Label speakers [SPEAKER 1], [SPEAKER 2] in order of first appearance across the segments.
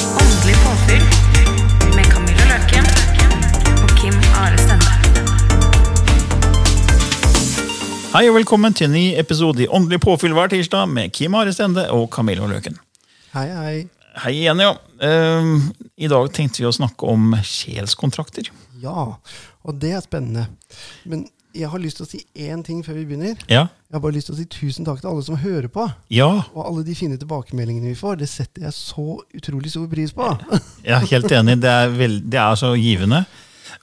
[SPEAKER 1] Åndelig påfyll med Camilla Løken og Kim Are Stende.
[SPEAKER 2] Hei og velkommen til en ny episode i Åndelig påfyll hver tirsdag med Kim Are Stende og Camillo Løken.
[SPEAKER 3] Hei, hei.
[SPEAKER 2] Hei igjen, ja. Ehm, I dag tenkte vi å snakke om sjelskontrakter.
[SPEAKER 3] Ja, og det er spennende. Men jeg har lyst til å si én ting før vi begynner.
[SPEAKER 2] Ja.
[SPEAKER 3] Jeg har bare lyst til å si tusen takk til alle som hører på.
[SPEAKER 2] Ja,
[SPEAKER 3] Og alle de fine tilbakemeldingene vi får. Det setter jeg så utrolig stor pris på.
[SPEAKER 2] jeg er helt enig. Det er, veld, det er så givende.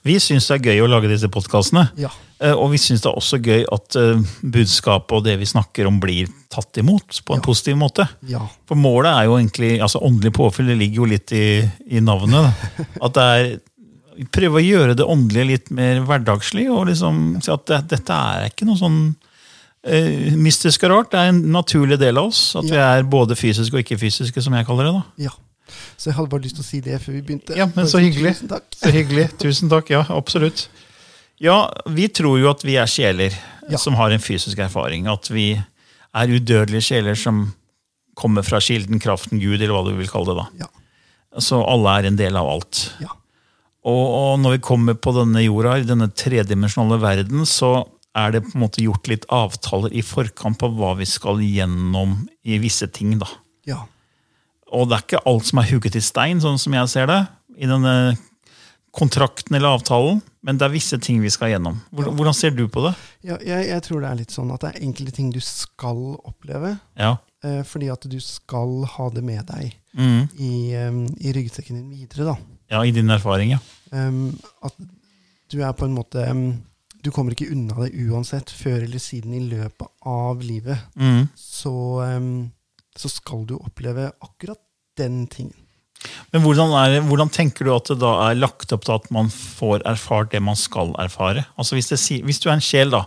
[SPEAKER 2] Vi syns det er gøy å lage disse podkastene.
[SPEAKER 3] Ja.
[SPEAKER 2] Eh, Og vi syns det er også gøy at eh, budskapet og det vi snakker om, blir tatt imot på en positiv måte.
[SPEAKER 3] Ja.
[SPEAKER 2] For målet er jo egentlig altså Åndelig påfyll det ligger jo litt i, i navnet. Da. At det er Prøve å gjøre det åndelige litt mer hverdagslig. og liksom si at det, Dette er ikke noe sånn eh, mystisk og rart. Det er en naturlig del av oss. At vi
[SPEAKER 3] Ja.
[SPEAKER 2] er både fysiske og ikke-fysiske, som jeg kaller det. da.
[SPEAKER 3] ja. Så jeg hadde bare lyst til å si det før vi begynte.
[SPEAKER 2] Ja, men
[SPEAKER 3] Bare
[SPEAKER 2] så
[SPEAKER 3] si
[SPEAKER 2] hyggelig.
[SPEAKER 3] Tusen takk.
[SPEAKER 2] Så hyggelig. Tusen takk. Ja, absolutt. Ja, vi tror jo at vi er sjeler
[SPEAKER 3] Ja.
[SPEAKER 2] som har en fysisk erfaring. At vi er udødelige sjeler som kommer fra kilden, kraften, Gud, eller hva du vil kalle det. da.
[SPEAKER 3] Ja.
[SPEAKER 2] Så alle er en del av alt.
[SPEAKER 3] ja.
[SPEAKER 2] Og, og når vi kommer på denne jorda, i denne tredimensjonale verden, så er det på en måte gjort litt avtaler i forkant på hva vi skal gjennom i visse ting. da.
[SPEAKER 3] Ja.
[SPEAKER 2] Og det er ikke alt som er hugget i stein, sånn som jeg ser det, i denne kontrakten eller avtalen, men det er visse ting vi skal gjennom. Hvordan, hvordan ser du på det?
[SPEAKER 3] ja jeg, jeg tror det er litt sånn at det er enkelte ting du skal oppleve.
[SPEAKER 2] Ja.
[SPEAKER 3] eh, Fordi at du skal ha det med deg
[SPEAKER 2] Mm.
[SPEAKER 3] i, eh, i ryggsekken din videre, da.
[SPEAKER 2] ja, I din erfaring, ja.
[SPEAKER 3] Ehm, at du er på en måte ehm, Du kommer ikke unna det uansett. Før eller siden i løpet av livet
[SPEAKER 2] Mm.
[SPEAKER 3] så, ehm, så skal du oppleve akkurat den tingen.
[SPEAKER 2] Men hvordan, er, det- hvordan tenker du at det da er lagt opp til at man får erfart det man skal erfare? Altså hvis, det, si- hvis du er en sjel, da,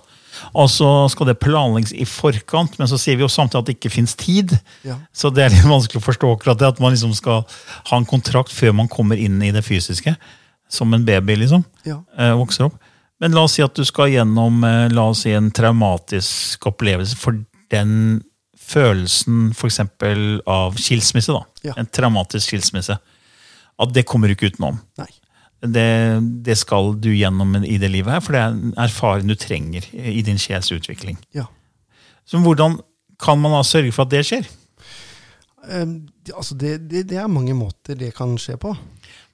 [SPEAKER 2] og så skal det planlegges i forkant, men så sier vi jo samtidig at det ikke fins tid.
[SPEAKER 3] Ja.
[SPEAKER 2] Så det er litt vanskelig å forstå akkurat det, at man liksom skal ha en kontrakt før man kommer inn i det fysiske. Som en baby, liksom.
[SPEAKER 3] Ja.
[SPEAKER 2] eh, Vokser opp. Men la oss si at du skal gjennom eh, la oss si, en traumatisk opplevelse for den følelsen for eksempel av skilsmisse. da.
[SPEAKER 3] Ja.
[SPEAKER 2] En traumatisk skilsmisse. At det kommer du ikke utenom.
[SPEAKER 3] Nei.
[SPEAKER 2] Det, det skal du gjennom i det livet her, for det er en erfaring du trenger i din sjels utvikling.
[SPEAKER 3] Ja.
[SPEAKER 2] Så hvordan kan man da sørge for at det skjer?
[SPEAKER 3] Ehm, det- altså det, det, det er mange måter det kan skje på.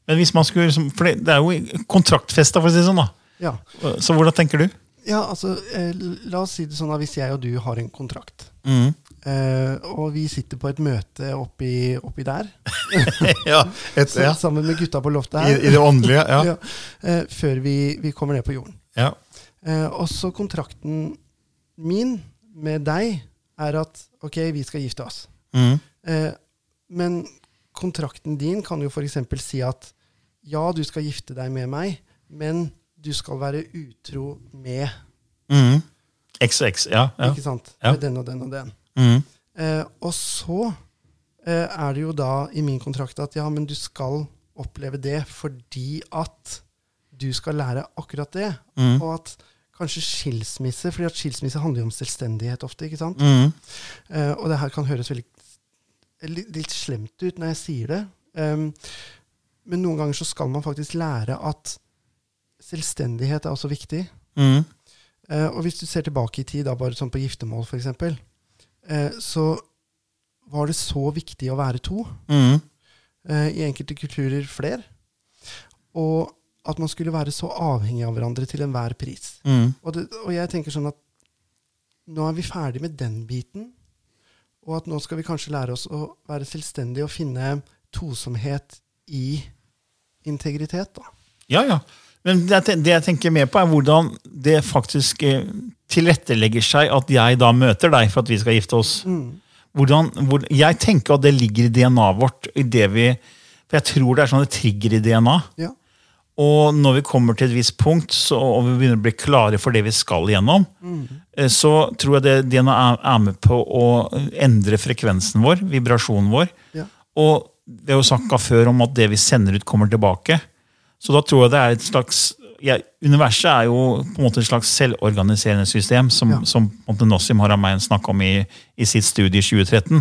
[SPEAKER 2] Men hvis man skulle, liksom- for det, det er jo kontraktfesta, for å si det sånn. da.
[SPEAKER 3] Ja.
[SPEAKER 2] Så hvordan tenker du?
[SPEAKER 3] ja, altså eh, La oss si det sånn at hvis jeg og du har en kontrakt,
[SPEAKER 2] Mm.
[SPEAKER 3] eh, og vi sitter på et møte oppi, oppi der
[SPEAKER 2] ja, et,
[SPEAKER 3] så, sammen med gutta på loftet
[SPEAKER 2] I,
[SPEAKER 3] her,
[SPEAKER 2] I det åndelige, ja.
[SPEAKER 3] ja, eh, før vi, vi kommer ned på jorden.
[SPEAKER 2] ja.
[SPEAKER 3] Eh, også kontrakten min med deg er at ok, vi skal gifte oss.
[SPEAKER 2] Mm.
[SPEAKER 3] Eh, men kontrakten din kan jo f.eks. si at ja, du skal gifte deg med meg, men du skal være utro med
[SPEAKER 2] Mm. XX, ja. ja.
[SPEAKER 3] ikke sant?
[SPEAKER 2] Ja.
[SPEAKER 3] Med den og den og den.
[SPEAKER 2] Mm.
[SPEAKER 3] Eh, og så eh, er det jo da i min kontrakt at ja, men du skal oppleve det fordi at du skal lære akkurat det.
[SPEAKER 2] Mm.
[SPEAKER 3] Og at kanskje skilsmisse, fordi at skilsmisse handler jo om selvstendighet ofte. ikke sant?
[SPEAKER 2] Mm.
[SPEAKER 3] Eh, og det her kan høres veldig litt, litt slemt ut når jeg sier det. Ehm, men noen ganger så skal man faktisk lære at selvstendighet er også viktig.
[SPEAKER 2] Mm.
[SPEAKER 3] Eh, og hvis du ser tilbake i tid, da bare sånn på giftermål eh, f.eks., uh, så var det så viktig å være to.
[SPEAKER 2] Mm.
[SPEAKER 3] Eh, eh, i enkelte kulturer flere. Og at man skulle være så avhengig av hverandre til enhver pris.
[SPEAKER 2] Mm.
[SPEAKER 3] Og, det, og jeg tenker sånn at nå er vi ferdig med den biten, og at nå skal vi kanskje lære oss å være selvstendige og finne tosomhet i integritet, da.
[SPEAKER 2] Ja, ja. Men det, jeg ten- det jeg tenker mer på, er hvordan det faktisk eh, tilrettelegger seg at jeg da møter deg for at vi skal gifte oss.
[SPEAKER 3] Mm.
[SPEAKER 2] Hvordan, hvor, jeg tenker at det ligger i DNA-et vårt. i det vi, For jeg tror det er sånne trigger i DNA.
[SPEAKER 3] Ja.
[SPEAKER 2] Og når vi kommer til et visst punkt, så, og vi begynner å bli klare for det vi skal igjennom, eh, så tror jeg det DNA er- er med på å endre frekvensen vår, vibrasjonen vår.
[SPEAKER 3] Ja.
[SPEAKER 2] Og det er jo snakka før om at det vi sender ut, kommer tilbake. Så da tror jeg det er et slags ja, Universet er jo på en måte et slags selvorganiserende system, som,
[SPEAKER 3] Ja.
[SPEAKER 2] som på en måte Nassim Haramein snakka om i, i sitt studie i 2013.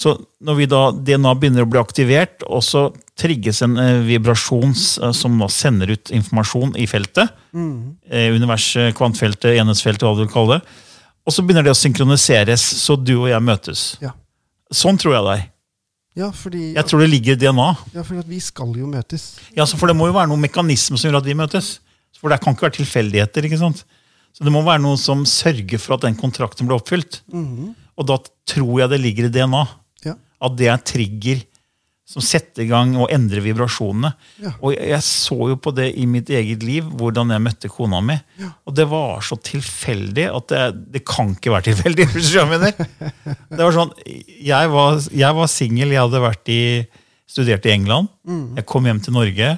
[SPEAKER 2] Så når vi da, DNA begynner å bli aktivert, og så trigges en eh, vibrasjon s- eh, som da sender ut informasjon i feltet, eh, universet, kvantfeltet, enhetsfeltet, hva du vil kalle det, og så begynner det å synkroniseres, så du og jeg møtes.
[SPEAKER 3] Ja.
[SPEAKER 2] Sånn tror jeg det er.
[SPEAKER 3] Ja, fordi,
[SPEAKER 2] Jeg tror det ligger i DNA.
[SPEAKER 3] ja, fordi at vi skal jo møtes.
[SPEAKER 2] Ja, så For det må jo være noen mekanisme som gjør at vi møtes. For det kan ikke være tilfeldigheter. ikke sant? Så det må være noe som sørger for at den kontrakten blir oppfylt. Og da tror jeg det ligger i DNA.
[SPEAKER 3] Ja.
[SPEAKER 2] At det er trigger som setter i gang og endrer vibrasjonene.
[SPEAKER 3] Ja.
[SPEAKER 2] Og jeg, jeg så jo på det i mitt eget liv, hvordan jeg møtte kona mi. Og det var så tilfeldig at det, det kan ikke være tilfeldig. hvis du skjønner hva jeg mener. Det var sånn, Jeg var, jeg var singel, jeg hadde vært i, studert i England. Jeg kom hjem til Norge.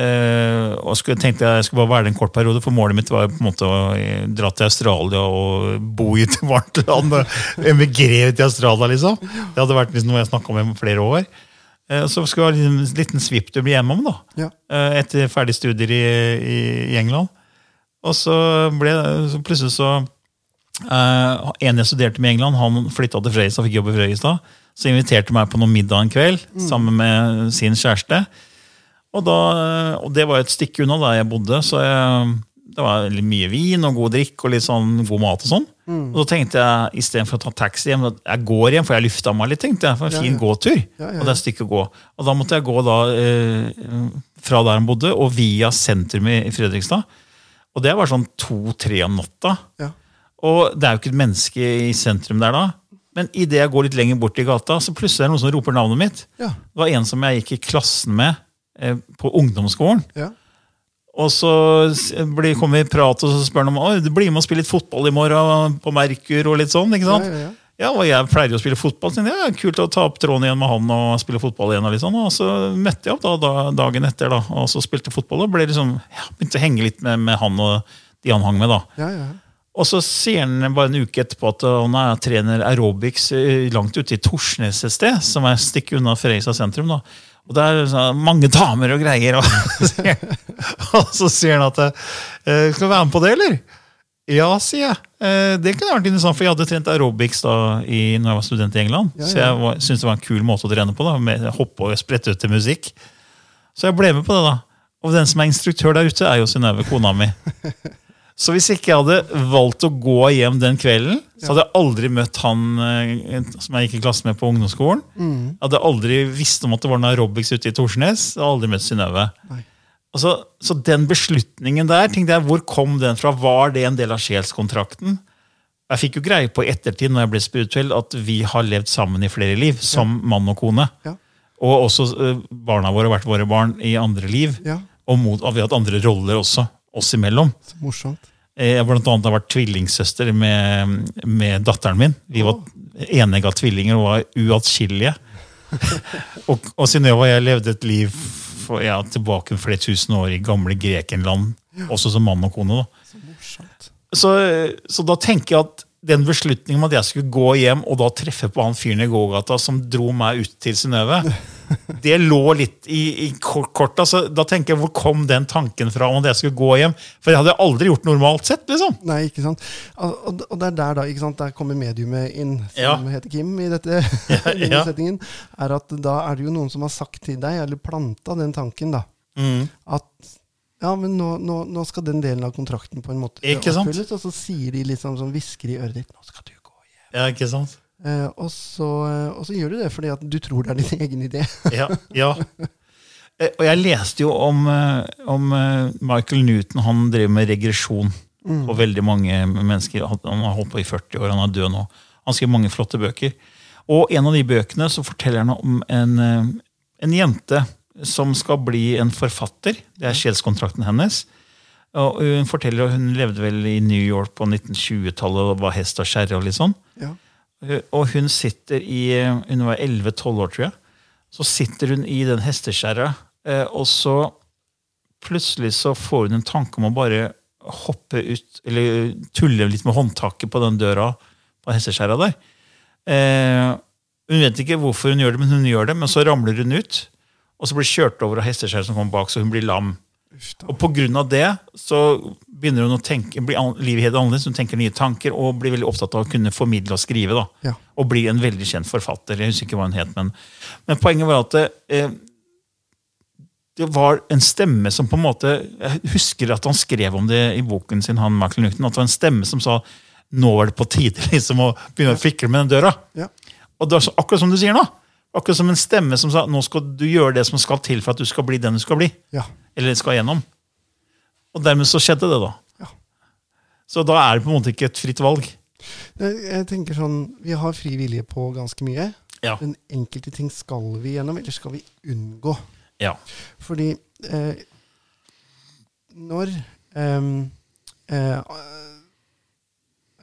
[SPEAKER 2] eh, og skulle, tenkte jeg skulle bare være der en kort periode, for målet mitt var jo på en måte å eh, dra til Australia og bo i et varmt land. og Emigrere til Australia, liksom. Det hadde vært liksom noe jeg snakka om i flere år. Eh, Så skulle jeg ha en liten svipptur hjemom, da.
[SPEAKER 3] Ja.
[SPEAKER 2] Eh, Etter ferdig studier i, i, i England. Og så ble så plutselig så eh, En jeg studerte med i England, han flytta til Fredrikstad, fikk jobb i Fredrikstad. Så inviterte meg på noen middag en kveld
[SPEAKER 3] Mm.
[SPEAKER 2] sammen med sin kjæreste. Og, da, eh, og det var et stykke unna der jeg bodde, så jeg, det var litt mye vin og god drikk og litt sånn god mat og sånn.
[SPEAKER 3] Mm.
[SPEAKER 2] Og så tenkte jeg istedenfor å ta taxi hjem, at jeg går hjem, for jeg lufta meg litt. tenkte jeg, for en
[SPEAKER 3] Ja,
[SPEAKER 2] fin
[SPEAKER 3] ja.
[SPEAKER 2] gåtur.
[SPEAKER 3] Ja, ja,
[SPEAKER 2] Og det er et stykke å gå. Og da måtte jeg gå da, eh, fra der han bodde, og via sentrum i i Fredrikstad. Og det var sånn to-tre om natta.
[SPEAKER 3] Ja.
[SPEAKER 2] Og det er jo ikke et menneske i sentrum der da. Men idet jeg går litt lenger bort i gata, så plutselig er det noen som roper navnet mitt.
[SPEAKER 3] Ja.
[SPEAKER 2] Det var en som jeg gikk i klassen med eh, på ungdomsskolen.
[SPEAKER 3] Ja.
[SPEAKER 2] Og så s- blir, kommer vi i prat, og så spør han om «Oi, du blir med og spiller litt fotball i morgen på Merkur. og litt sånn, ikke sant?
[SPEAKER 3] Ja, ja, ja.
[SPEAKER 2] Ja, og jeg pleier jo å spille fotball. Så tenkte jeg, ja, kult å ta opp tråden igjen med han og spille fotball igjen. Og litt sånn. Og så møtte jeg opp da, da, dagen etter, da, og så spilte fotball. Og ble liksom, ja, begynte å henge litt med, med han og de han hang med. da.
[SPEAKER 3] Ja, ja.
[SPEAKER 2] Og så sier han bare en uke etterpå at han er trener aerobics eh, langt ute i Torsnes et sted, som er et stykke unna Fredrikstad sentrum. da. Og det er sånn, mange damer og greier. Og, sier- og så sier han at eh, skal du være med på det, eller? Ja, sier jeg. Eh, Det kunne vært interessant, for jeg hadde trent aerobics da i, når jeg var student i England.
[SPEAKER 3] Ja,
[SPEAKER 2] Så
[SPEAKER 3] ja.
[SPEAKER 2] jeg var- syntes det var en kul måte å trene på, da, med hoppe og sprette ut til musikk. Så jeg ble med på det, da. Og den som er instruktør der ute, er jo Synnøve, kona mi. Så hvis ikke jeg hadde valgt å gå hjem den kvelden, så hadde jeg aldri møtt han eh, som jeg gikk i klasse med på ungdomsskolen.
[SPEAKER 3] Mm.
[SPEAKER 2] Jeg hadde aldri visst om at det var noe aerobics ute i Torsnes. Jeg hadde aldri møtt Synnøve.
[SPEAKER 3] Nei.
[SPEAKER 2] Og Så, så den beslutningen der, tenkte jeg, hvor kom den fra? Var det en del av sjelskontrakten? Jeg fikk jo greie på i ettertid når jeg ble spirituell, at vi har levd sammen i flere liv, som mann og kone.
[SPEAKER 3] Ja.
[SPEAKER 2] Og også eh, barna våre har vært våre barn i andre liv.
[SPEAKER 3] Ja.
[SPEAKER 2] Og mot, og vi har hatt andre roller også, oss imellom.
[SPEAKER 3] Så morsomt.
[SPEAKER 2] Eh, Jeg blant annet har vært tvillingsøster med, med datteren min. Vi var enegga tvillinger og var uatskillelige. og og Synnøve og jeg levde et liv for, ja, tilbake flere tusen år i gamle Grekenland, også som mann og kone. da
[SPEAKER 3] Så morsomt.
[SPEAKER 2] så, så da tenker jeg at den beslutningen om at jeg skulle gå hjem og da treffe på han fyren i gågata som dro meg ut til Synnøve, det lå litt i, i kor- korta. Så da tenker jeg, hvor kom den tanken fra om at jeg skulle gå hjem? For det hadde jeg aldri gjort normalt sett. liksom.
[SPEAKER 3] Nei, ikke sant. Al- Og, og det er der, da. ikke sant, Der kommer mediumet inn, som
[SPEAKER 2] Ja.
[SPEAKER 3] heter Kim i dette. i denne
[SPEAKER 2] ja.
[SPEAKER 3] setningen, er at Da er det jo noen som har sagt til deg, eller planta den tanken, da.
[SPEAKER 2] Mm.
[SPEAKER 3] At ja, men nå, nå, nå skal den delen av kontrakten på en måte
[SPEAKER 2] Ikke sant?
[SPEAKER 3] oppfylles. Og så sier de liksom sånn hvisker i øret ditt Nå skal du gå hjem.
[SPEAKER 2] Ja, ikke sant?
[SPEAKER 3] Eh, og, så, og så gjør du det fordi at du tror det er din egen idé.
[SPEAKER 2] Ja, ja. Eh, Og jeg leste jo om, eh, om eh, Michael Newton. Han drev med regresjon på veldig mange mennesker. Han han har holdt på i 40 år, han er død nå. Han skrev mange flotte bøker. Og en av de bøkene så forteller han om en, eh, en jente som skal bli en forfatter. Det er sjelskontrakten hennes. Og hun forteller at hun levde vel i New York på 1920-tallet og var hest og kjerre. og litt sånn.
[SPEAKER 3] Ja.
[SPEAKER 2] Og hun sitter i eh, Hun var 11-12 år, tror jeg. Så sitter hun i den hesteskjæra, eh, og så plutselig så får hun en tanke om å bare hoppe ut, eller tulle litt med håndtaket på den døra på hesteskjæra der. Eh, Hun vet ikke hvorfor hun gjør det, men hun gjør det, men så ramler hun ut. Og så blir kjørt over av hesteskjæra som kommer bak, så hun blir lam. Og på grunn av det så begynner hun å tenke, blir an- livet helt annerledes. Hun tenker nye tanker og blir veldig opptatt av å kunne formidle og skrive. da.
[SPEAKER 3] Ja.
[SPEAKER 2] Og blir en veldig kjent forfatter. Jeg husker ikke hva hun het, men, men poenget var at eh, det var en stemme som på en måte Jeg husker at han skrev om det i boken sin, han Michael Newton, at det var en stemme som sa nå er det på tide liksom å begynne å fikle med den døra.
[SPEAKER 3] Ja.
[SPEAKER 2] Og det var så, akkurat som du sier nå. Akkurat som en stemme som sa nå skal du gjøre det som skal til for at du skal bli den du skal bli.
[SPEAKER 3] Ja.
[SPEAKER 2] Eller skal gjennom. Og dermed så skjedde det, da.
[SPEAKER 3] Ja.
[SPEAKER 2] Så da er det på en måte ikke et fritt valg.
[SPEAKER 3] Jeg jeg tenker sånn, Vi har fri vilje på ganske mye.
[SPEAKER 2] Ja.
[SPEAKER 3] Men enkelte ting skal vi gjennom, eller skal vi unngå.
[SPEAKER 2] Ja.
[SPEAKER 3] Fordi eh, når eh, eh,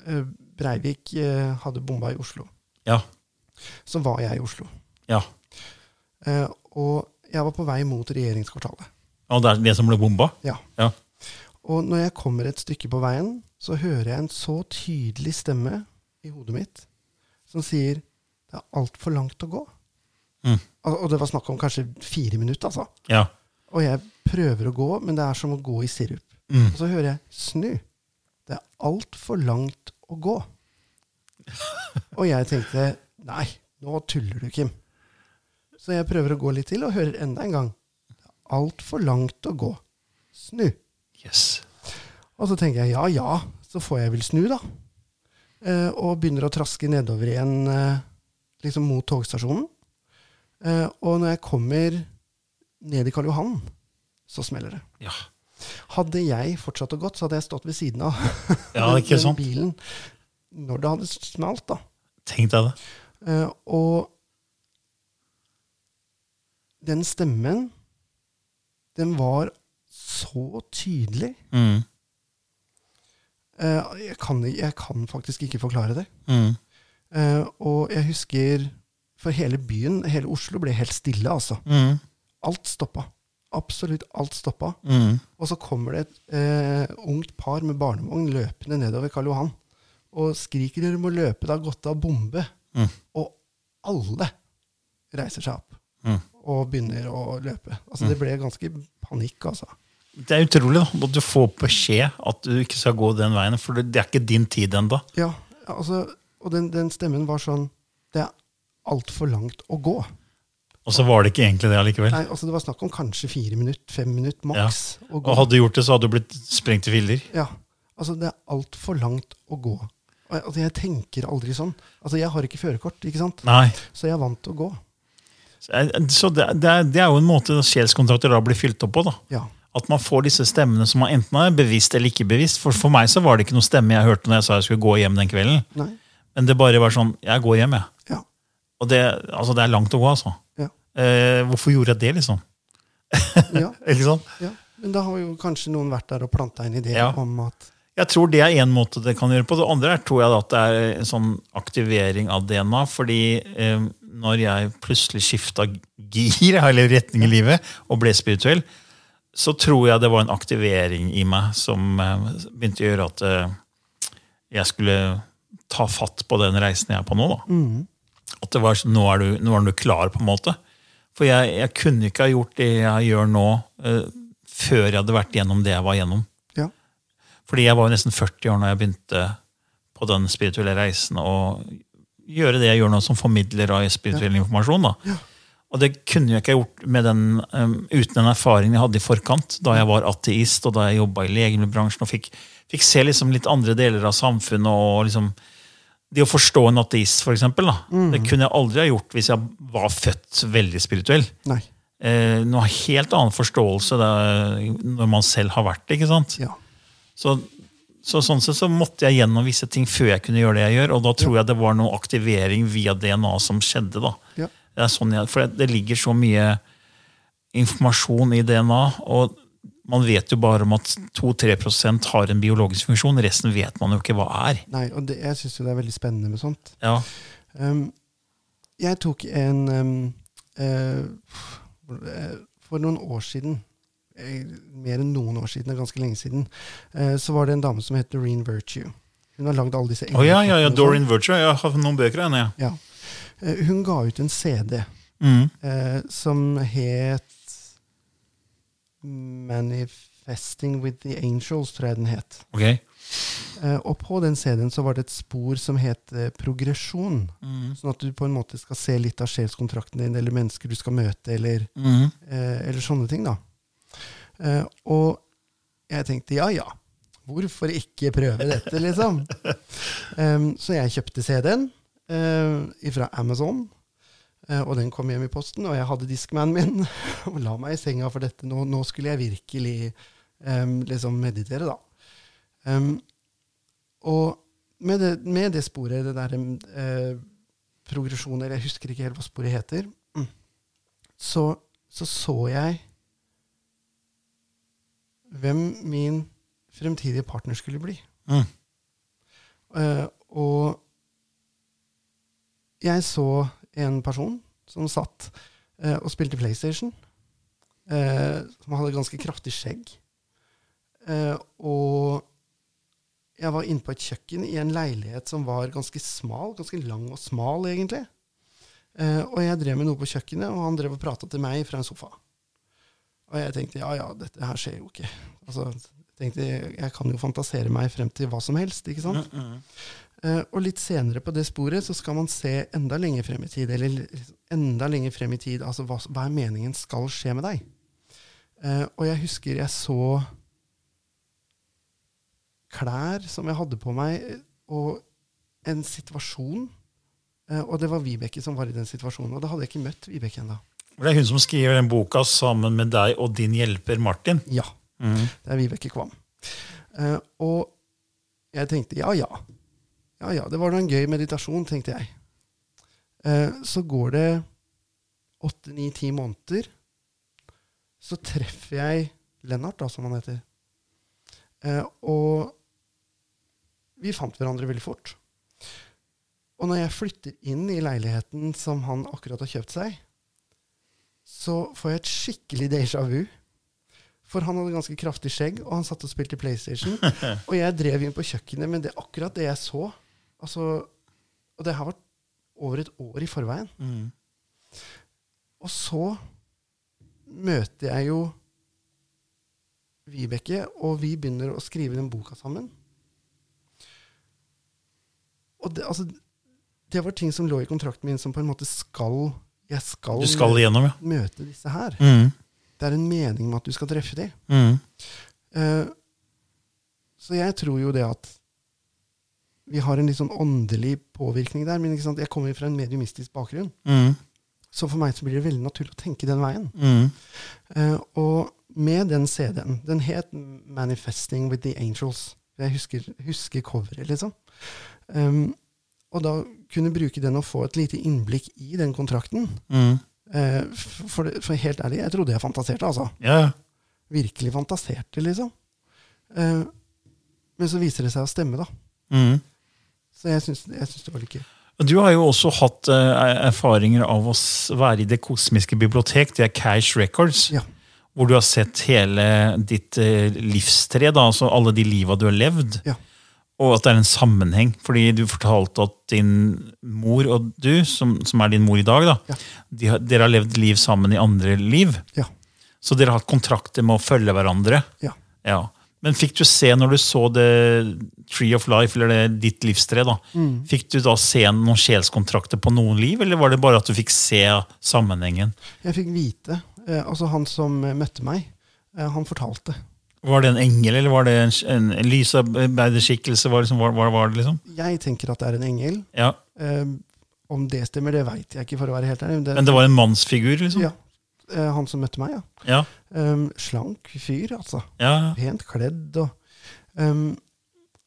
[SPEAKER 3] eh, Breivik eh, hadde bomba i Oslo,
[SPEAKER 2] Ja.
[SPEAKER 3] så var jeg i Oslo.
[SPEAKER 2] ja.
[SPEAKER 3] Eh, og jeg var på vei mot regjeringskvartalet.
[SPEAKER 2] Og det er det som ble bomba?
[SPEAKER 3] Ja.
[SPEAKER 2] Ja.
[SPEAKER 3] Og når jeg kommer et stykke på veien, så hører jeg en så tydelig stemme i hodet mitt som sier det er altfor langt å gå.
[SPEAKER 2] Mm.
[SPEAKER 3] Og, og det var snakk om kanskje fire minutter, altså.
[SPEAKER 2] Ja.
[SPEAKER 3] Og jeg prøver å gå, men det er som å gå i sirup.
[SPEAKER 2] Mm.
[SPEAKER 3] Og så hører jeg snu. Det er altfor langt å gå. og jeg tenkte nei, nå tuller du, Kim. Så jeg prøver å gå litt til, og hører enda en gang. Det er altfor langt å gå. Snu.
[SPEAKER 2] Yes.
[SPEAKER 3] Og så tenker jeg ja, ja, så får jeg vel snu, da. Eh, og begynner å traske nedover igjen, eh, liksom mot togstasjonen. Eh, og når jeg kommer ned i Karl Johan, så smeller det.
[SPEAKER 2] Ja.
[SPEAKER 3] Hadde jeg fortsatt å gått, så hadde jeg stått ved siden av
[SPEAKER 2] Ja, ikke sant?
[SPEAKER 3] bilen når det hadde smalt, da.
[SPEAKER 2] Tenk deg det.
[SPEAKER 3] Eh, og den stemmen, den var så tydelig.
[SPEAKER 2] Mm.
[SPEAKER 3] Eh, jeg, kan, jeg kan faktisk ikke forklare det.
[SPEAKER 2] Mm.
[SPEAKER 3] Eh, og jeg husker For hele byen, hele Oslo, ble helt stille, altså.
[SPEAKER 2] Mm.
[SPEAKER 3] Alt stoppa. Absolutt alt stoppa.
[SPEAKER 2] Mm.
[SPEAKER 3] Og så kommer det et eh, ungt par med barnevogn løpende nedover Karl Johan og skriker 'Dere må løpe, det har gått av bombe'.
[SPEAKER 2] Mm.
[SPEAKER 3] Og alle reiser seg opp
[SPEAKER 2] Mm.
[SPEAKER 3] og begynner å løpe. Altså, Det ble ganske panikk, altså.
[SPEAKER 2] Det er utrolig da, at du får beskjed at du ikke skal gå den veien, for det er ikke din tid ennå.
[SPEAKER 3] Ja, altså, Og den, den stemmen var sånn 'Det er altfor langt å gå'.
[SPEAKER 2] Og så var det ikke egentlig det allikevel.
[SPEAKER 3] Nei, altså Det var snakk om kanskje fire minutter, fem minutter maks. å gå.
[SPEAKER 2] Og hadde du gjort det, så hadde du blitt sprengt i filler.
[SPEAKER 3] Ja, altså Det er altfor langt å gå. Og jeg- Altså Jeg tenker aldri sånn. Altså Jeg har ikke førerkort, ikke sant?
[SPEAKER 2] Nei.
[SPEAKER 3] så jeg er vant til å gå.
[SPEAKER 2] Så det, det, er, det er jo en måte sjelskontrakter da blir fylt opp på. da.
[SPEAKER 3] Ja,
[SPEAKER 2] At man får disse stemmene som man enten er bevisst eller ikke bevisst. For for meg så var det ikke noe stemme jeg hørte når jeg sa jeg skulle gå hjem den kvelden.
[SPEAKER 3] nei,
[SPEAKER 2] Men det bare var sånn Jeg går hjem, jeg.
[SPEAKER 3] ja,
[SPEAKER 2] Og det, altså, det er langt å gå, altså.
[SPEAKER 3] ja,
[SPEAKER 2] Eh, hvorfor gjorde jeg det, liksom?
[SPEAKER 3] ja,
[SPEAKER 2] Ikke sant?
[SPEAKER 3] ja. Men da har jo kanskje noen vært der og planta en idé
[SPEAKER 2] Ja.
[SPEAKER 3] om at
[SPEAKER 2] Jeg tror det er én måte det kan gjøre på. Det andre er, tror jeg da, at det er en sånn aktivering av DNA. Fordi eh, når jeg plutselig skifta gir eller retning i livet og ble spirituell, så tror jeg det var en aktivering i meg som eh, begynte å gjøre at eh, jeg skulle ta fatt på den reisen jeg er på nå. da. At det var sånn, nå er, du, nå er du klar, på en måte. For jeg, jeg kunne ikke ha gjort det jeg gjør nå, eh, før jeg hadde vært gjennom det jeg var gjennom.
[SPEAKER 3] Ja,
[SPEAKER 2] Fordi jeg var jo nesten 40 år når jeg begynte på den spirituelle reisen og gjøre det jeg gjør nå som formidler av spirituell informasjon. da. Og det kunne jeg ikke ha gjort med den, um, uten den erfaringen jeg hadde i forkant, da jeg var ateist og da jeg jobba i legemiddelbransjen og fikk, fikk se liksom litt andre deler av samfunnet og liksom det å forstå en ateist, for eksempel, da, det kunne jeg aldri ha gjort hvis jeg var født veldig spirituell.
[SPEAKER 3] Nei.
[SPEAKER 2] Eh, noe helt annen forståelse da, når man selv har vært det. ikke sant?
[SPEAKER 3] Ja.
[SPEAKER 2] Så, så sånn sett så måtte jeg gjennom visse ting før jeg kunne gjøre det jeg gjør. Og da tror jeg det var noe aktivering via DNA som skjedde. da.
[SPEAKER 3] Ja.
[SPEAKER 2] Det er sånn jeg, for det, det ligger så mye informasjon i DNA, og man vet jo bare om at 2-3 prosent har en biologisk funksjon. Resten vet man jo ikke hva er.
[SPEAKER 3] Nei, og det, jeg syns jo det er veldig spennende med sånt.
[SPEAKER 2] Ja,
[SPEAKER 3] Um, jeg tok en um, eh, eh, For noen år siden, eh, mer enn noen år siden, det er ganske lenge siden, eh, så var det en dame som het Doreen Virtue. Hun har lagd alle disse
[SPEAKER 2] Å, ja, ja, ja
[SPEAKER 3] englekortene og
[SPEAKER 2] Doreen Virtue. Jeg har noen bøker av henne. jeg.
[SPEAKER 3] sånn. Ja. Eh, Hun ga ut en CD
[SPEAKER 2] Mm.
[SPEAKER 3] eh, som het Manifesting with the Angels, tror jeg den het.
[SPEAKER 2] Ok.
[SPEAKER 3] Eh, og på den CD-en så var det et spor som het eh, progresjon.
[SPEAKER 2] Mm,
[SPEAKER 3] Sånn at du på en måte skal se litt av sjelskontrakten din, eller mennesker du skal møte, eller,
[SPEAKER 2] Mm.
[SPEAKER 3] eh, eller sånne ting. da. Eh, og jeg tenkte ja ja, hvorfor ikke prøve dette, liksom? Em, så jeg kjøpte CD-en eh, fra Amazon. eh, Og den kom hjem i posten, og jeg hadde diskmanen min. Og la meg i senga for dette. Nå, nå skulle jeg virkelig em, liksom meditere, da. Em, og med det, med det sporet, det derre eh, progresjoner Jeg husker ikke helt hva sporet heter. Mm. Så, så så jeg hvem min fremtidige partner skulle bli.
[SPEAKER 2] Mm.
[SPEAKER 3] Eh, og jeg så en person som satt eh, og spilte PlayStation. eh, som hadde ganske kraftig skjegg. Eh, og jeg var inne på et kjøkken i en leilighet som var ganske smal, ganske lang og smal, egentlig. Eh, og jeg drev med noe på kjøkkenet, og han drev og prata til meg fra en sofa. Og jeg tenkte ja, ja, dette her skjer jo ikke. Altså, jeg tenkte, jeg kan jo fantasere meg frem til hva som helst, ikke
[SPEAKER 2] mm,
[SPEAKER 3] sant? Eh, og litt senere på det sporet så skal man se enda lenger frem i tid, eller liksom enda lenger frem i tid, altså hva, hva er meningen skal skje med deg? Eh, og jeg husker jeg så klær som jeg hadde på meg, eh, og en situasjon. Eh, og det var Vibeke som var i den situasjonen, og da hadde jeg ikke møtt Vibeke ennå.
[SPEAKER 2] Det er hun som skriver den boka sammen med deg og din hjelper Martin.
[SPEAKER 3] Ja. Det er Vibeke Kvam. Eh, og jeg tenkte ja, ja. Ja, ja, det var da en gøy meditasjon, tenkte jeg. Eh, så går det åtte, ni, ti måneder. Så treffer jeg Lennart, da, som han heter. Eh, og vi fant hverandre veldig fort. Og når jeg flytter inn i leiligheten som han akkurat har kjøpt seg, så får jeg et skikkelig déjà vu. For han hadde ganske kraftig skjegg, og han satt og spilte PlayStation. Og jeg drev inn på kjøkkenet med det, akkurat det jeg så. Altså, og det her var over et år i forveien. Og så møter jeg jo Vibeke, og vi begynner å skrive den boka sammen. Og det, altså, det var ting som lå i kontrakten min, som på en måte skal Jeg skal,
[SPEAKER 2] Du skal igjennom, ja.
[SPEAKER 3] møte disse her.
[SPEAKER 2] Mm.
[SPEAKER 3] Det er en mening med at du skal treffe dem.
[SPEAKER 2] Mm.
[SPEAKER 3] Eh, Så jeg tror jo det at vi har en litt sånn åndelig påvirkning der. Men ikke sant? jeg kommer jo fra en mediumistisk bakgrunn,
[SPEAKER 2] Mm.
[SPEAKER 3] så for meg så blir det veldig naturlig å tenke den veien.
[SPEAKER 2] Mm.
[SPEAKER 3] Eh, Og med den CD-en Den het 'Manifesting with the Angels'. Jeg husker, husker coveret, liksom. Um, og da kunne bruke den og få et lite innblikk i den kontrakten.
[SPEAKER 2] Mm.
[SPEAKER 3] Eh, f- for, det- for helt ærlig, jeg trodde jeg fantaserte, altså
[SPEAKER 2] Ja, ja.
[SPEAKER 3] virkelig fantaserte, liksom. Eh, men så viser det seg å stemme, da.
[SPEAKER 2] Mm.
[SPEAKER 3] Så jeg syns, jeg syns det var litt gøy.
[SPEAKER 2] Og Du har jo også hatt eh, erfaringer av å s- være i det kosmiske bibliotek, det er Cash Records,
[SPEAKER 3] Ja.
[SPEAKER 2] hvor du har sett hele ditt eh, livstre, da, altså alle de liva du har levd,
[SPEAKER 3] Ja.
[SPEAKER 2] og at det er en sammenheng. Fordi du fortalte at din mor og du, som, som er din mor i dag, da,
[SPEAKER 3] Ja.
[SPEAKER 2] de har, dere har levd liv sammen i andre liv.
[SPEAKER 3] Ja.
[SPEAKER 2] Så dere har hatt kontrakter med å følge hverandre.
[SPEAKER 3] ja.
[SPEAKER 2] Ja. Men fikk du se, når du så det Tree of Life, eller det, ditt livstre, da,
[SPEAKER 3] Mm.
[SPEAKER 2] fikk du da se noen sjelskontrakter på noen liv, eller var det bare at du fikk se sammenhengen?
[SPEAKER 3] Jeg fikk vite eh, Altså, han som eh, møtte meg, eh, han fortalte.
[SPEAKER 2] Var det en engel, eller var det en, en, en lysarbeiderskikkelse? Var, det som var, var, var det liksom?
[SPEAKER 3] Jeg tenker at det er en engel.
[SPEAKER 2] Ja.
[SPEAKER 3] Eh, om det stemmer, det veit jeg ikke, for å være helt ærlig. Men det-
[SPEAKER 2] Men det var en mannsfigur, liksom?
[SPEAKER 3] ja. Eh, han som møtte meg, ja.
[SPEAKER 2] Ja.
[SPEAKER 3] Um, slank fyr, altså.
[SPEAKER 2] ja.
[SPEAKER 3] Pent kledd og um,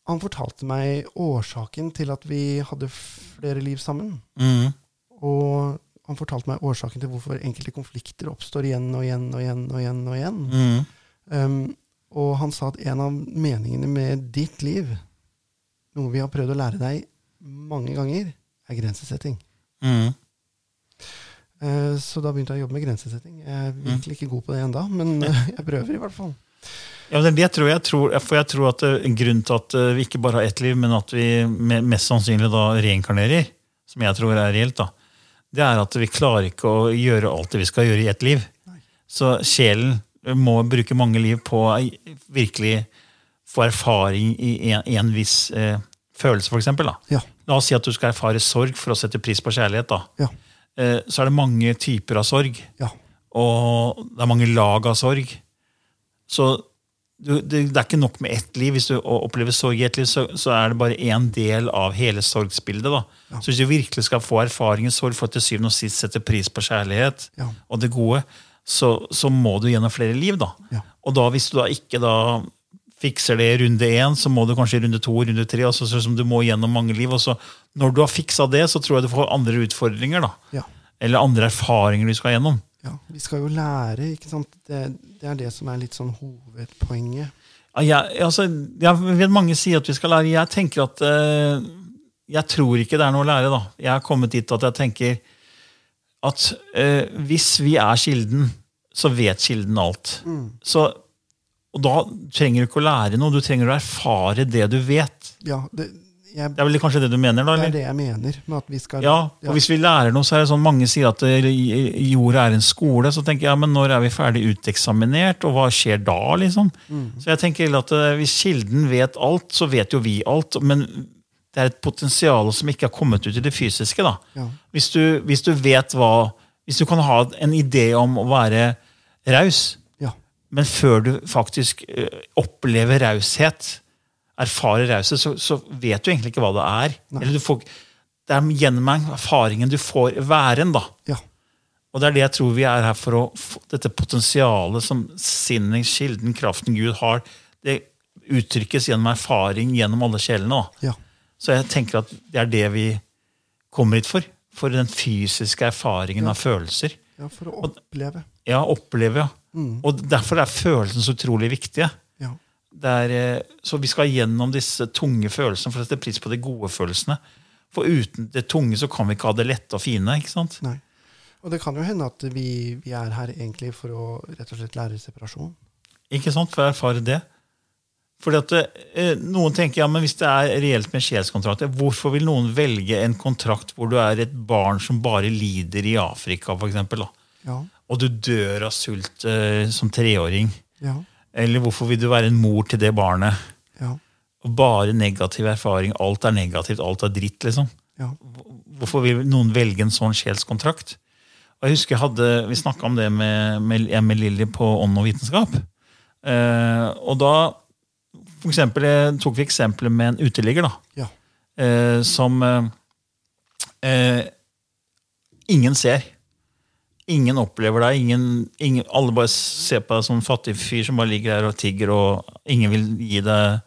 [SPEAKER 3] Han fortalte meg årsaken til at vi hadde flere liv sammen.
[SPEAKER 2] Mm.
[SPEAKER 3] Og han fortalte meg årsaken til hvorfor enkelte konflikter oppstår igjen og igjen og igjen. Og igjen og igjen.
[SPEAKER 2] Mm.
[SPEAKER 3] Um, og han sa at en av meningene med ditt liv, noe vi har prøvd å lære deg mange ganger, er grensesetting.
[SPEAKER 2] Mm.
[SPEAKER 3] Eh, Så da begynte jeg å jobbe med grensesetting. Jeg er virkelig ikke god på det ennå, men eh, jeg prøver i hvert fall.
[SPEAKER 2] Ja, men det er det jeg tror jeg tror, for jeg tror at eh, grunnen til at eh, vi ikke bare har ett liv, men at vi me- mest sannsynlig da reinkarnerer, som jeg tror er reelt, da, det er at vi klarer ikke å gjøre alt det vi skal gjøre i ett liv. Så sjelen eh, må bruke mange liv på å virkelig få erfaring i en, en viss eh, følelse, for eksempel. Da.
[SPEAKER 3] Ja.
[SPEAKER 2] La oss si at du skal erfare sorg for å sette pris på kjærlighet. Da.
[SPEAKER 3] Ja.
[SPEAKER 2] Eh, så er det mange typer av sorg.
[SPEAKER 3] Ja.
[SPEAKER 2] Og det er mange lag av sorg. Så du, det, det er ikke nok med ett liv. Hvis du o- opplever sorg i ett liv, så, så er det bare én del av hele sorgsbildet. Da. Så hvis du virkelig skal få erfaring i sorg for å til syvende og sist sette pris på kjærlighet
[SPEAKER 3] Ja.
[SPEAKER 2] og det gode, så, så må du gjennom flere liv. Da.
[SPEAKER 3] Ja.
[SPEAKER 2] Og da, hvis du da ikke da fikser det i runde én, så må du kanskje i runde to runde tre. Altså, sånn som du må gjennom mange liv. Og så, når du har fiksa det, så tror jeg du får andre utfordringer. Da.
[SPEAKER 3] Ja.
[SPEAKER 2] Eller andre erfaringer du skal gjennom.
[SPEAKER 3] ja. Vi skal jo lære, ikke sant. Det, det er det som er litt sånn hovedpoenget.
[SPEAKER 2] Ja, Jeg, altså, jeg vet mange sier at vi skal lære. Jeg tenker at eh, Jeg tror ikke det er noe å lære, da. Jeg er kommet dit at jeg tenker at eh, hvis vi er kilden, så vet kilden alt. Så, og da trenger du ikke å lære noe, du trenger å erfare det du vet.
[SPEAKER 3] Ja, det, jeg,
[SPEAKER 2] Det er vel kanskje det du mener? da?
[SPEAKER 3] det
[SPEAKER 2] Eller?
[SPEAKER 3] er det jeg mener med at vi skal
[SPEAKER 2] Ja, og hvis vi lærer noe, så er det sånn mange sier at eh, jorda er en skole. Så tenker jeg, ja, men når er vi ferdig uteksaminert, og hva skjer da, liksom?
[SPEAKER 3] Mm.
[SPEAKER 2] Så jeg tenker heller at eh, hvis Kilden vet alt, så vet jo vi alt. Men det er et potensial som ikke har kommet ut i det fysiske. da.
[SPEAKER 3] Ja.
[SPEAKER 2] Hvis, du, hvis du vet hva Hvis du kan ha en idé om å være raus,
[SPEAKER 3] ja.
[SPEAKER 2] men før du faktisk eh, opplever raushet, erfarer raushet, så, så vet du egentlig ikke hva det er. Eller du får, ikke- det er gjennom erfaringen du får væren, da.
[SPEAKER 3] ja.
[SPEAKER 2] Og det er det jeg tror vi er her for å få Dette potensialet som sinnet, kilden, kraften Gud har, det uttrykkes gjennom erfaring gjennom alle sjelene. da.
[SPEAKER 3] Ja.
[SPEAKER 2] Så jeg tenker at det er det vi kommer hit for. For den fysiske erfaringen av følelser.
[SPEAKER 3] ja for å oppleve.
[SPEAKER 2] Ja, oppleve, ja. Og derfor er følelsen så utrolig viktig.
[SPEAKER 3] Ja.
[SPEAKER 2] Det er, eh, så vi skal gjennom disse tunge følelsene for å sette pris på de gode følelsene. For uten det tunge så kan vi ikke ha det lette og fine. ikke sant?
[SPEAKER 3] Nei. Og det kan jo hende at vi, vi er her egentlig for å rett og slett lære separasjon.
[SPEAKER 2] Ikke sant? For å erfare det. Fordi at eh, Noen tenker ja, men hvis det er reelt med sjelskontrakter, hvorfor vil noen velge en kontrakt hvor du er et barn som bare lider i Afrika, for eksempel, da?
[SPEAKER 3] Ja.
[SPEAKER 2] og du dør av sult eh, som treåring?
[SPEAKER 3] Ja.
[SPEAKER 2] Eller hvorfor vil du være en mor til det barnet?
[SPEAKER 3] Ja.
[SPEAKER 2] Og bare negativ erfaring. Alt er negativt, alt er dritt. liksom.
[SPEAKER 3] Ja.
[SPEAKER 2] Hvorfor vil noen velge en sånn sjelskontrakt? Og jeg husker jeg hadde, Vi snakka om det med, med, jeg med Lilly på Ånd og vitenskap. Eh, og da for eksempel, eh, tok vi eksempelet med en uteligger da,
[SPEAKER 3] Ja.
[SPEAKER 2] eh, som eh, eh, ingen ser. Ingen opplever deg. Ingen, ingen, alle bare ser på deg som en fattig fyr som bare ligger her og tigger, og ingen vil gi deg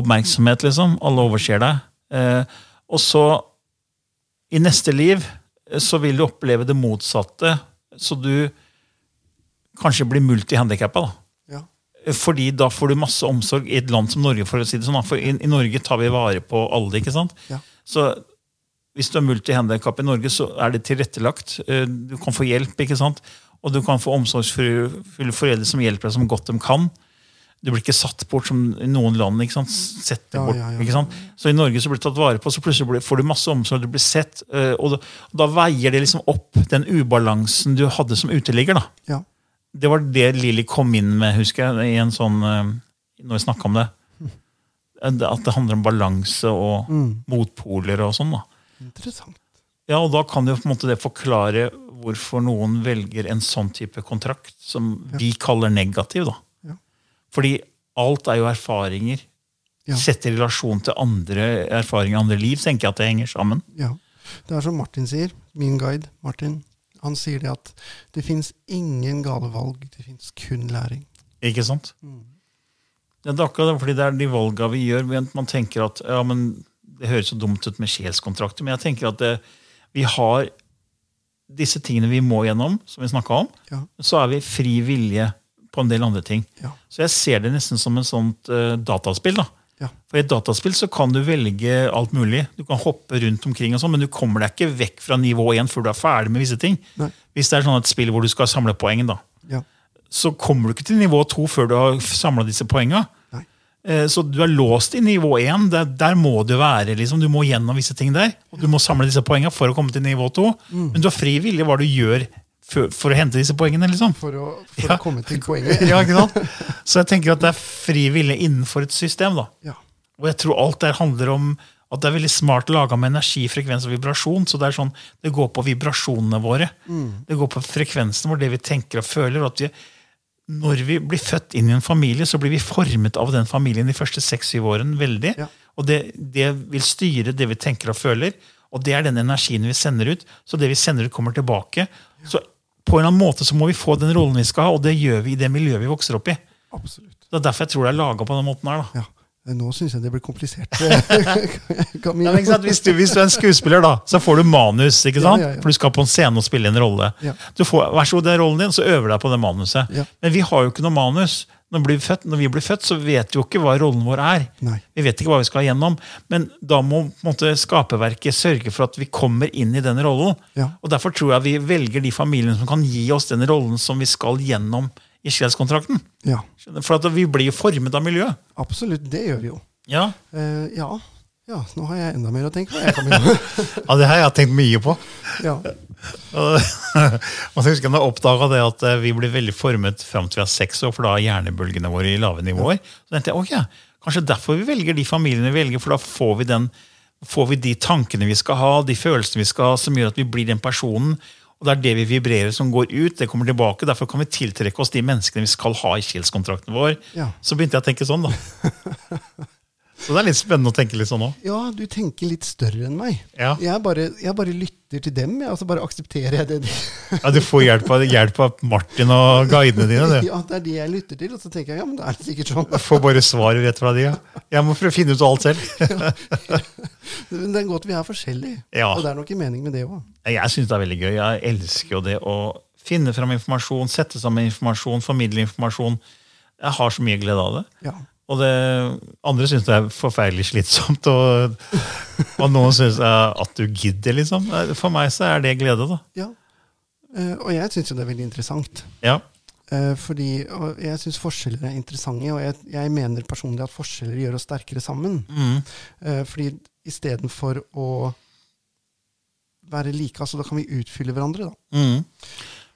[SPEAKER 2] oppmerksomhet, liksom. Alle overser deg. Eh, og så, i neste liv, eh, så vil du oppleve det motsatte. Så du kanskje blir multihandikappa, da.
[SPEAKER 3] Ja.
[SPEAKER 2] Fordi da får du masse omsorg i et land som Norge. For å si det sånn, da. for i, i Norge tar vi vare på alle. ikke sant?
[SPEAKER 3] Ja.
[SPEAKER 2] Så hvis du er multihandikap i Norge, så er det tilrettelagt. Eh, Du kan få hjelp, ikke sant? og du kan få omsorgsfulle foreldre som hjelper deg som godt de kan. Du blir ikke satt bort som i noen land. ikke sant? Setter
[SPEAKER 3] Ja,
[SPEAKER 2] bort,
[SPEAKER 3] ja, ja.
[SPEAKER 2] ikke sant? Så i Norge så blir du tatt vare på, så plutselig blir- får du masse omsorg, du blir sett. eh, Og da, da veier det liksom opp den ubalansen du hadde som uteligger. da.
[SPEAKER 3] Ja.
[SPEAKER 2] Det var det Lilly kom inn med, husker jeg, i en sånn, eh, når vi snakka om det. At det handler om balanse og
[SPEAKER 3] Mm.
[SPEAKER 2] motpoler og sånn. da.
[SPEAKER 3] Interessant.
[SPEAKER 2] Ja, og Da kan jo på en måte det forklare hvorfor noen velger en sånn type kontrakt som vi kaller negativ. da.
[SPEAKER 3] Ja.
[SPEAKER 2] Fordi Alt er jo erfaringer.
[SPEAKER 3] Ja.
[SPEAKER 2] Sett i relasjon til andre erfaringer, andre liv, tenker jeg at det henger sammen.
[SPEAKER 3] Ja. Det er som Martin sier, min guide Martin. Han sier det at det fins ingen gale valg, det fins kun læring.
[SPEAKER 2] Ikke sant? Ja, det er akkurat det, fordi det er de valga vi gjør. men Man tenker at ja, men det høres så dumt ut med sjelskontrakter, men jeg tenker at det, vi har disse tingene vi må gjennom, som vi snakka om.
[SPEAKER 3] Ja.
[SPEAKER 2] Så er vi fri vilje på en del andre ting.
[SPEAKER 3] Ja.
[SPEAKER 2] Så jeg ser det nesten som en sånt eh, dataspill. da.
[SPEAKER 3] Ja.
[SPEAKER 2] For i et dataspill så kan du velge alt mulig. Du kan hoppe rundt omkring, og sånn, men du kommer deg ikke vekk fra nivå 1 før du er ferdig med visse ting.
[SPEAKER 3] Nei.
[SPEAKER 2] Hvis det er sånn et spill hvor du skal samle poeng, da
[SPEAKER 3] Ja.
[SPEAKER 2] så kommer du ikke til nivå 2 før du har samla disse poenga.
[SPEAKER 3] Nei.
[SPEAKER 2] Eh, Så du er låst i nivå 1. Der, der må du være. liksom. Du må gjennom visse ting der. og Du må samle disse poenga for å komme til nivå 2. Men du har fri vilje hva du gjør for, for å hente disse poengene. liksom.
[SPEAKER 3] For å, for
[SPEAKER 2] Ja.
[SPEAKER 3] å komme til poenget.
[SPEAKER 2] Ja, ikke sant? Så jeg tenker at det er fri vilje innenfor et system. da.
[SPEAKER 3] Ja.
[SPEAKER 2] Og jeg tror alt der handler om at det er veldig smart laga med energi, frekvens og vibrasjon. Så det er sånn, det går på vibrasjonene våre. Det går på frekvensen vår, det vi tenker og føler. og at vi, Når vi blir født inn i en familie, så blir vi formet av den familien de første seks-syv årene veldig.
[SPEAKER 3] Ja.
[SPEAKER 2] Og det, det vil styre det vi tenker og føler. Og det er den energien vi sender ut. Så det vi sender ut, kommer tilbake. Så på en eller annen måte så må vi få den rollen vi skal ha, og det gjør vi i det miljøet vi vokser opp i.
[SPEAKER 3] Absolutt.
[SPEAKER 2] Det er derfor jeg tror det er laga på den måten her. da.
[SPEAKER 3] Ja. Nå syns jeg det blir komplisert.
[SPEAKER 2] Ja,
[SPEAKER 3] Camilla.
[SPEAKER 2] men ikke sant? Hvis, du, hvis du er en skuespiller, da, så får du manus. ikke
[SPEAKER 3] Ja,
[SPEAKER 2] sant?
[SPEAKER 3] ja, ja.
[SPEAKER 2] For du skal på en scene og spille en rolle.
[SPEAKER 3] Ja.
[SPEAKER 2] Du får, vær så god, det er rollen din, så øver du deg på det manuset.
[SPEAKER 3] Ja.
[SPEAKER 2] Men vi har jo ikke noe manus. Når vi, blir født, når vi blir født, så vet vi jo ikke hva rollen vår er.
[SPEAKER 3] Nei.
[SPEAKER 2] Vi vet ikke hva vi skal gjennom. Men da må på en måte, skaperverket sørge for at vi kommer inn i den rollen.
[SPEAKER 3] Ja.
[SPEAKER 2] Og Derfor tror jeg vi velger de familiene som kan gi oss den rollen som vi skal gjennom i sjelskontrakten.
[SPEAKER 3] Ja,
[SPEAKER 2] For at vi blir jo formet av miljøet.
[SPEAKER 3] absolutt. Det gjør vi jo.
[SPEAKER 2] Ja.
[SPEAKER 3] Eh, ja. ja, nå har jeg enda mer å tenke på. Jeg, Camilla.
[SPEAKER 2] ja, det har jeg tenkt mye på.
[SPEAKER 3] ja.
[SPEAKER 2] Og og så husker jeg da oppdaga det at eh, vi blir veldig formet fram til vi er seks år, for da er hjernebølgene våre i lave nivåer. Så tenkte jeg ok, kanskje derfor vi velger de familiene vi velger, for da får vi, den, får vi de tankene vi skal ha, de følelsene vi skal ha, som gjør at vi blir den personen. Og det er det vi vibrerer som går ut, det kommer tilbake. Derfor kan vi tiltrekke oss de menneskene vi skal ha i skilskontrakten vår.
[SPEAKER 3] Ja.
[SPEAKER 2] Så begynte jeg å tenke sånn, da. Så det er litt spennende å tenke litt sånn òg.
[SPEAKER 3] ja, du tenker litt større enn meg.
[SPEAKER 2] Ja.
[SPEAKER 3] Jeg, bare, jeg bare lytter til dem, jeg, og så bare aksepterer jeg det de
[SPEAKER 2] Ja, du får hjelp av, hjelp av Martin og guidene dine, du.
[SPEAKER 3] Ja, det er de jeg lytter til, og så tenker jeg ja, men da er det sikkert sånn.
[SPEAKER 2] Jeg får bare svaret rett fra de. ja. Jeg må prøve å finne ut alt selv.
[SPEAKER 3] Men det er godt vi er forskjellige.
[SPEAKER 2] Ja.
[SPEAKER 3] Og det er nok en mening med det òg.
[SPEAKER 2] Jeg syns det er veldig gøy. Jeg elsker jo det å finne fram informasjon, sette sammen informasjon, formidle informasjon. Jeg har så mye glede av det.
[SPEAKER 3] Ja.
[SPEAKER 2] Og det, andre syns det er forferdelig slitsomt, og, og noen syns at du gidder, liksom. For meg så er det glede, da.
[SPEAKER 3] ja. Eh, og jeg syns jo det er veldig interessant.
[SPEAKER 2] Ja.
[SPEAKER 3] Eh, fordi og jeg syns forskjeller er interessante, og jeg, jeg mener personlig at forskjeller gjør oss sterkere sammen.
[SPEAKER 2] Mm.
[SPEAKER 3] Eh, fordi istedenfor å være like, altså da kan vi utfylle hverandre, da.
[SPEAKER 2] Mm.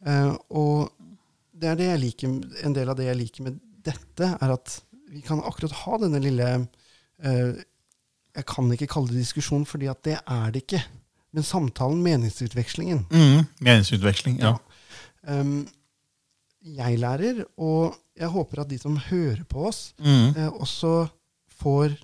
[SPEAKER 3] Eh, og det er det jeg liker, en del av det jeg liker med dette, er at vi kan akkurat ha denne lille eh, Jeg kan ikke kalle det diskusjon, fordi at det er det ikke. Men samtalen, meningsutvekslingen.
[SPEAKER 2] Mm. Meningsutveksling. Ja.
[SPEAKER 3] Ehm, jeg lærer, og jeg håper at de som hører på oss,
[SPEAKER 2] Mm.
[SPEAKER 3] eh, også får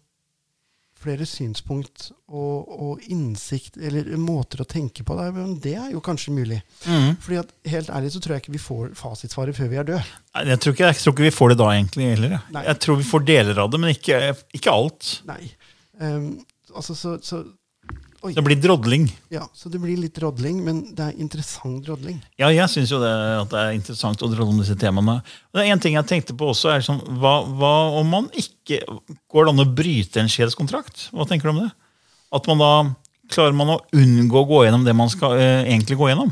[SPEAKER 3] flere synspunkt og, og innsikt, eller måter å tenke på. Det er, jo- det er jo kanskje mulig.
[SPEAKER 2] Mm.
[SPEAKER 3] Fordi at, helt ærlig så tror jeg ikke vi får fasitsvaret før vi er døde.
[SPEAKER 2] Nei, Jeg, tror ikke, jeg tror ikke vi får det da, egentlig, heller. jeg.
[SPEAKER 3] Nei.
[SPEAKER 2] Jeg tror vi får deler av det, men ikke, ikke alt.
[SPEAKER 3] Nei. Ehm, altså, så, så, oi,
[SPEAKER 2] Det blir drodling.
[SPEAKER 3] ja, så det blir litt drodling, men det er interessant drodling.
[SPEAKER 2] Ja, jeg syns jo det, at det er interessant å dra om disse temaene. Men det er en ting jeg tenkte på også, er sånn, hva, hva om man ikke Går det an å bryte en sjelskontrakt? Hva tenker du om det? At man da Klarer man å unngå å gå gjennom det man skal eh, egentlig gå gjennom?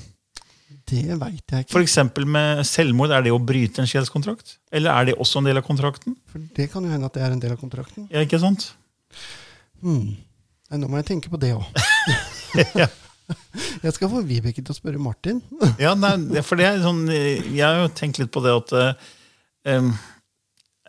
[SPEAKER 3] Det veit jeg ikke.
[SPEAKER 2] For eksempel med selvmord, er det å bryte en sjelskontrakt? Eller er det også en del av kontrakten?
[SPEAKER 3] For det kan jo hende at det er en del av kontrakten.
[SPEAKER 2] Ja, ikke sant?
[SPEAKER 3] Hmm. Nei, nå må jeg tenke på det òg.
[SPEAKER 2] Ja.
[SPEAKER 3] Jeg skal få Vibeke til å spørre Martin.
[SPEAKER 2] Ja, nei, det- for det er sånn eh, Jeg har jo tenkt litt på det at eh, em,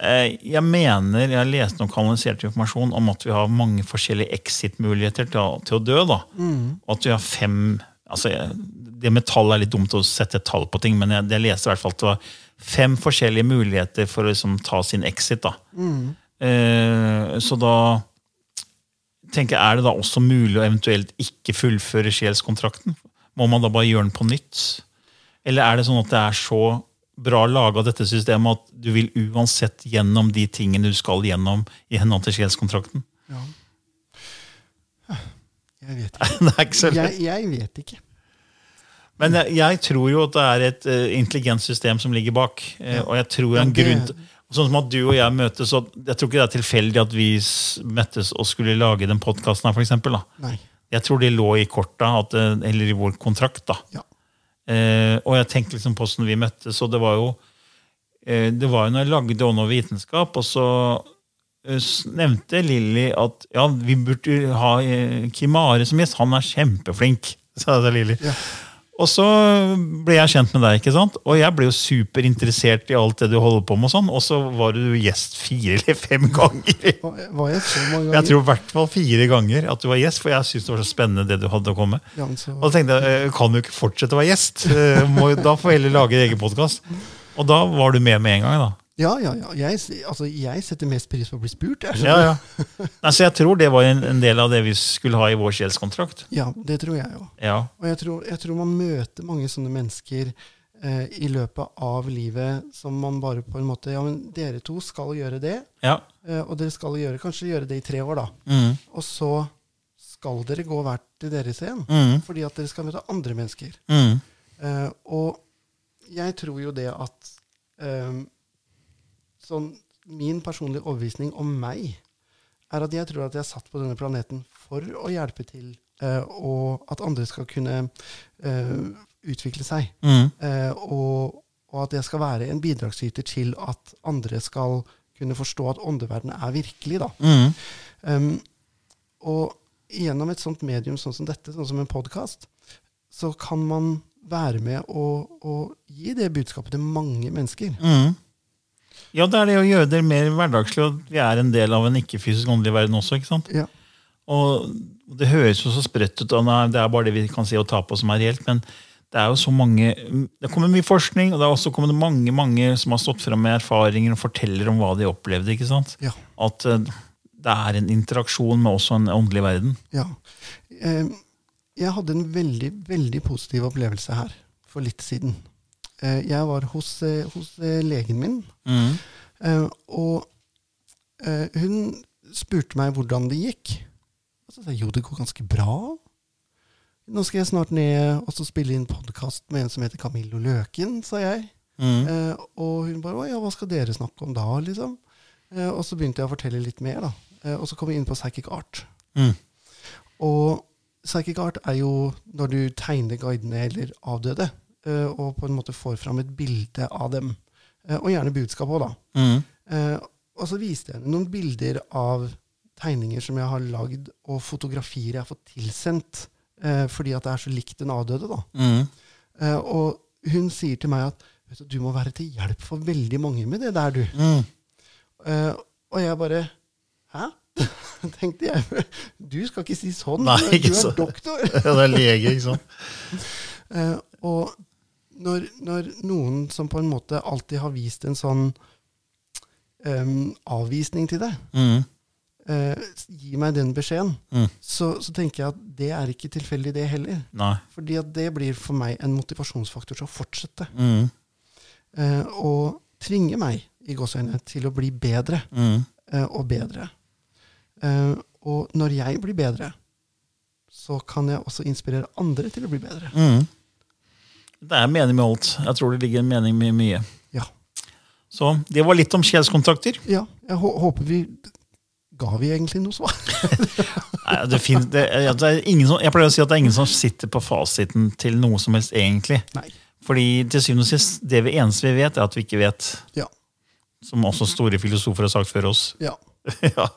[SPEAKER 2] eh, Jeg mener Jeg har lest om kanalisert informasjon om at vi har mange forskjellige exit-muligheter til, å- til å dø. da Og At vi har fem altså, jeg- det med tall er litt dumt å sette tall på ting, men jeg, jeg leste i hvert fall at det var fem forskjellige muligheter for å liksom, ta sin exit. da. Eh, så da tenker jeg, er det da også mulig å eventuelt ikke fullføre sjelskontrakten? Må man da bare gjøre den på nytt? Eller er det sånn at det er så bra laga dette systemet at du vil uansett gjennom de tingene du skal gjennom i henhold til sjelskontrakten?
[SPEAKER 3] Ja. Jeg vet ikke.
[SPEAKER 2] Det er ikke så lett.
[SPEAKER 3] Jeg, jeg vet ikke.
[SPEAKER 2] Men jeg, jeg tror jo at det er et eh, intelligent system som ligger bak. eh, og jeg tror en
[SPEAKER 3] det-
[SPEAKER 2] grunn til- Sånn som at du og jeg møtes, og jeg tror ikke det er tilfeldig at vi s- møttes og skulle lage den podkasten her, for eksempel, da.
[SPEAKER 3] Nei.
[SPEAKER 2] Jeg tror det lå i korta, at, eh, eller i vår kontrakt, da.
[SPEAKER 3] Ja.
[SPEAKER 2] Eh, og jeg tenkte liksom på hvordan vi møttes, og det var jo eh, Det var jo når jeg lagde Ånd og vitenskap, og så eh, s- nevnte Lilly at ja, vi burde jo ha eh, Kim Are som gjest. Han er kjempeflink, sa jeg til Lilly. Og så ble jeg kjent med deg, ikke sant? og jeg ble jo superinteressert i alt det du holder på med. Og sånn, og så var du gjest fire eller fem ganger.
[SPEAKER 3] Var var jeg så mange
[SPEAKER 2] Jeg
[SPEAKER 3] ganger?
[SPEAKER 2] tror i hvert fall fire ganger at du var gjest, for jeg syntes det var så spennende det du hadde å komme med.
[SPEAKER 3] Ja, men så-
[SPEAKER 2] Og da tenkte jeg, eh, kan du ikke fortsette å være gjest? Eh, Må, da får jeg heller lage en egen podkast. Og da var du med med en gang, da.
[SPEAKER 3] Ja, ja, ja. Jeg, s- altså, jeg setter mest pris på å bli spurt. Jeg.
[SPEAKER 2] Ja, ja. Nei, så jeg tror det var en, en del av det vi skulle ha i vår sjelskontrakt.
[SPEAKER 3] ja, det tror jeg òg.
[SPEAKER 2] Ja.
[SPEAKER 3] Og jeg tror, jeg tror man møter mange sånne mennesker eh, i løpet av livet som man bare på en måte Ja, men dere to skal gjøre det,
[SPEAKER 2] ja.
[SPEAKER 3] eh, og dere skal gjøre, kanskje gjøre det i tre år, da.
[SPEAKER 2] Mm.
[SPEAKER 3] Og så skal dere gå hver til deres igjen.
[SPEAKER 2] Mm.
[SPEAKER 3] Fordi at dere skal møte andre mennesker.
[SPEAKER 2] Mm.
[SPEAKER 3] Eh, og jeg tror jo det at eh, sånn, Min personlige overbevisning om meg er at jeg tror at jeg er satt på denne planeten for å hjelpe til, eh, og at andre skal kunne eh, utvikle seg.
[SPEAKER 2] Mm.
[SPEAKER 3] Eh, og, og at jeg skal være en bidragsyter til at andre skal kunne forstå at åndeverdenen er virkelig. da.
[SPEAKER 2] Mm.
[SPEAKER 3] Um, og gjennom et sånt medium sånn som dette, sånn som en podkast, så kan man være med og, og gi det budskapet til mange mennesker.
[SPEAKER 2] Mm. Ja, det er det å gjøre det mer hverdagslig, og vi er en del av en ikke-fysisk åndelig verden også. ikke sant?
[SPEAKER 3] Ja.
[SPEAKER 2] Og det høres jo så sprøtt ut, og nei, det er bare det vi kan si og ta på som er reelt, men det er jo så mange, det kommer mye forskning, og det er også kommet mange mange som har stått fram med erfaringer og forteller om hva de opplevde. ikke sant?
[SPEAKER 3] Ja.
[SPEAKER 2] At eh, det er en interaksjon med også en åndelig verden.
[SPEAKER 3] ja. Um, jeg hadde en veldig, veldig positiv opplevelse her for litt siden. Eh, jeg var hos, eh, hos eh, legen min, eh, og eh, hun spurte meg hvordan det gikk. Og så sa jeg jo, det går ganske bra. Nå skal jeg snart ned og så spille inn podkast med en som heter Camillo Løken, sa jeg. Eh, og hun bare 'Å ja, hva skal dere snakke om da?' liksom. Eh, og så begynte jeg å fortelle litt mer, da. Eh, og så kom vi inn på psychic art.
[SPEAKER 2] Mm.
[SPEAKER 3] Og psychic art er jo når du tegner guidene eller avdøde, eh, og på en måte får fram et bilde av dem. Eh, og gjerne budskap òg, da.
[SPEAKER 2] Mm.
[SPEAKER 3] Eh, og så viste jeg henne noen bilder av tegninger som jeg har lagd, og fotografier jeg har fått tilsendt, eh, fordi at det er så likt den avdøde. da.
[SPEAKER 2] Mm.
[SPEAKER 3] Eh, og hun sier til meg at vet du, du må være til hjelp for veldig mange med det der, du.
[SPEAKER 2] Mm.
[SPEAKER 3] Eh, og jeg bare Hæ? tenkte jeg. Du skal ikke si sånn.
[SPEAKER 2] Nei,
[SPEAKER 3] du
[SPEAKER 2] ikke
[SPEAKER 3] er
[SPEAKER 2] så-
[SPEAKER 3] doktor.
[SPEAKER 2] Ja, det er lege, ikke sant?
[SPEAKER 3] Eh, og når, når noen som på en måte alltid har vist en sånn em, avvisning til det,
[SPEAKER 2] Mm.
[SPEAKER 3] eh, gir meg den beskjeden,
[SPEAKER 2] Mm.
[SPEAKER 3] så, så tenker jeg at det er ikke tilfeldig, det heller.
[SPEAKER 2] Nei.
[SPEAKER 3] Fordi at det blir for meg en motivasjonsfaktor til å fortsette.
[SPEAKER 2] Mm.
[SPEAKER 3] eh, og tvinge meg i gåseøynene til å bli bedre
[SPEAKER 2] Mm.
[SPEAKER 3] eh, og bedre. Eh, og når jeg blir bedre, så kan jeg også inspirere andre til å bli bedre.
[SPEAKER 2] Mm. Det er mening med alt. Jeg tror det ligger en mening med mye.
[SPEAKER 3] Ja,
[SPEAKER 2] Så det var litt om sjelskontakter.
[SPEAKER 3] ja jeg hå håper vi Ga vi egentlig noe svar?
[SPEAKER 2] Nei, det finnes, det, er- det er ingen som, jeg pleier å si at det er ingen som sitter på fasiten til noe som helst, egentlig.
[SPEAKER 3] Nei.
[SPEAKER 2] Fordi til syvende og sist, det vi eneste vi vet, er at vi ikke vet.
[SPEAKER 3] Ja.
[SPEAKER 2] Som også store filosofer har sagt før oss.
[SPEAKER 3] ja.
[SPEAKER 2] ja.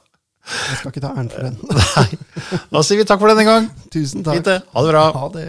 [SPEAKER 3] Jeg skal ikke ta æren for den.
[SPEAKER 2] Nei. Da sier vi takk for denne gang.
[SPEAKER 3] Tusen
[SPEAKER 2] Fint
[SPEAKER 3] takk.
[SPEAKER 2] det. Ha det bra.
[SPEAKER 3] Ha det.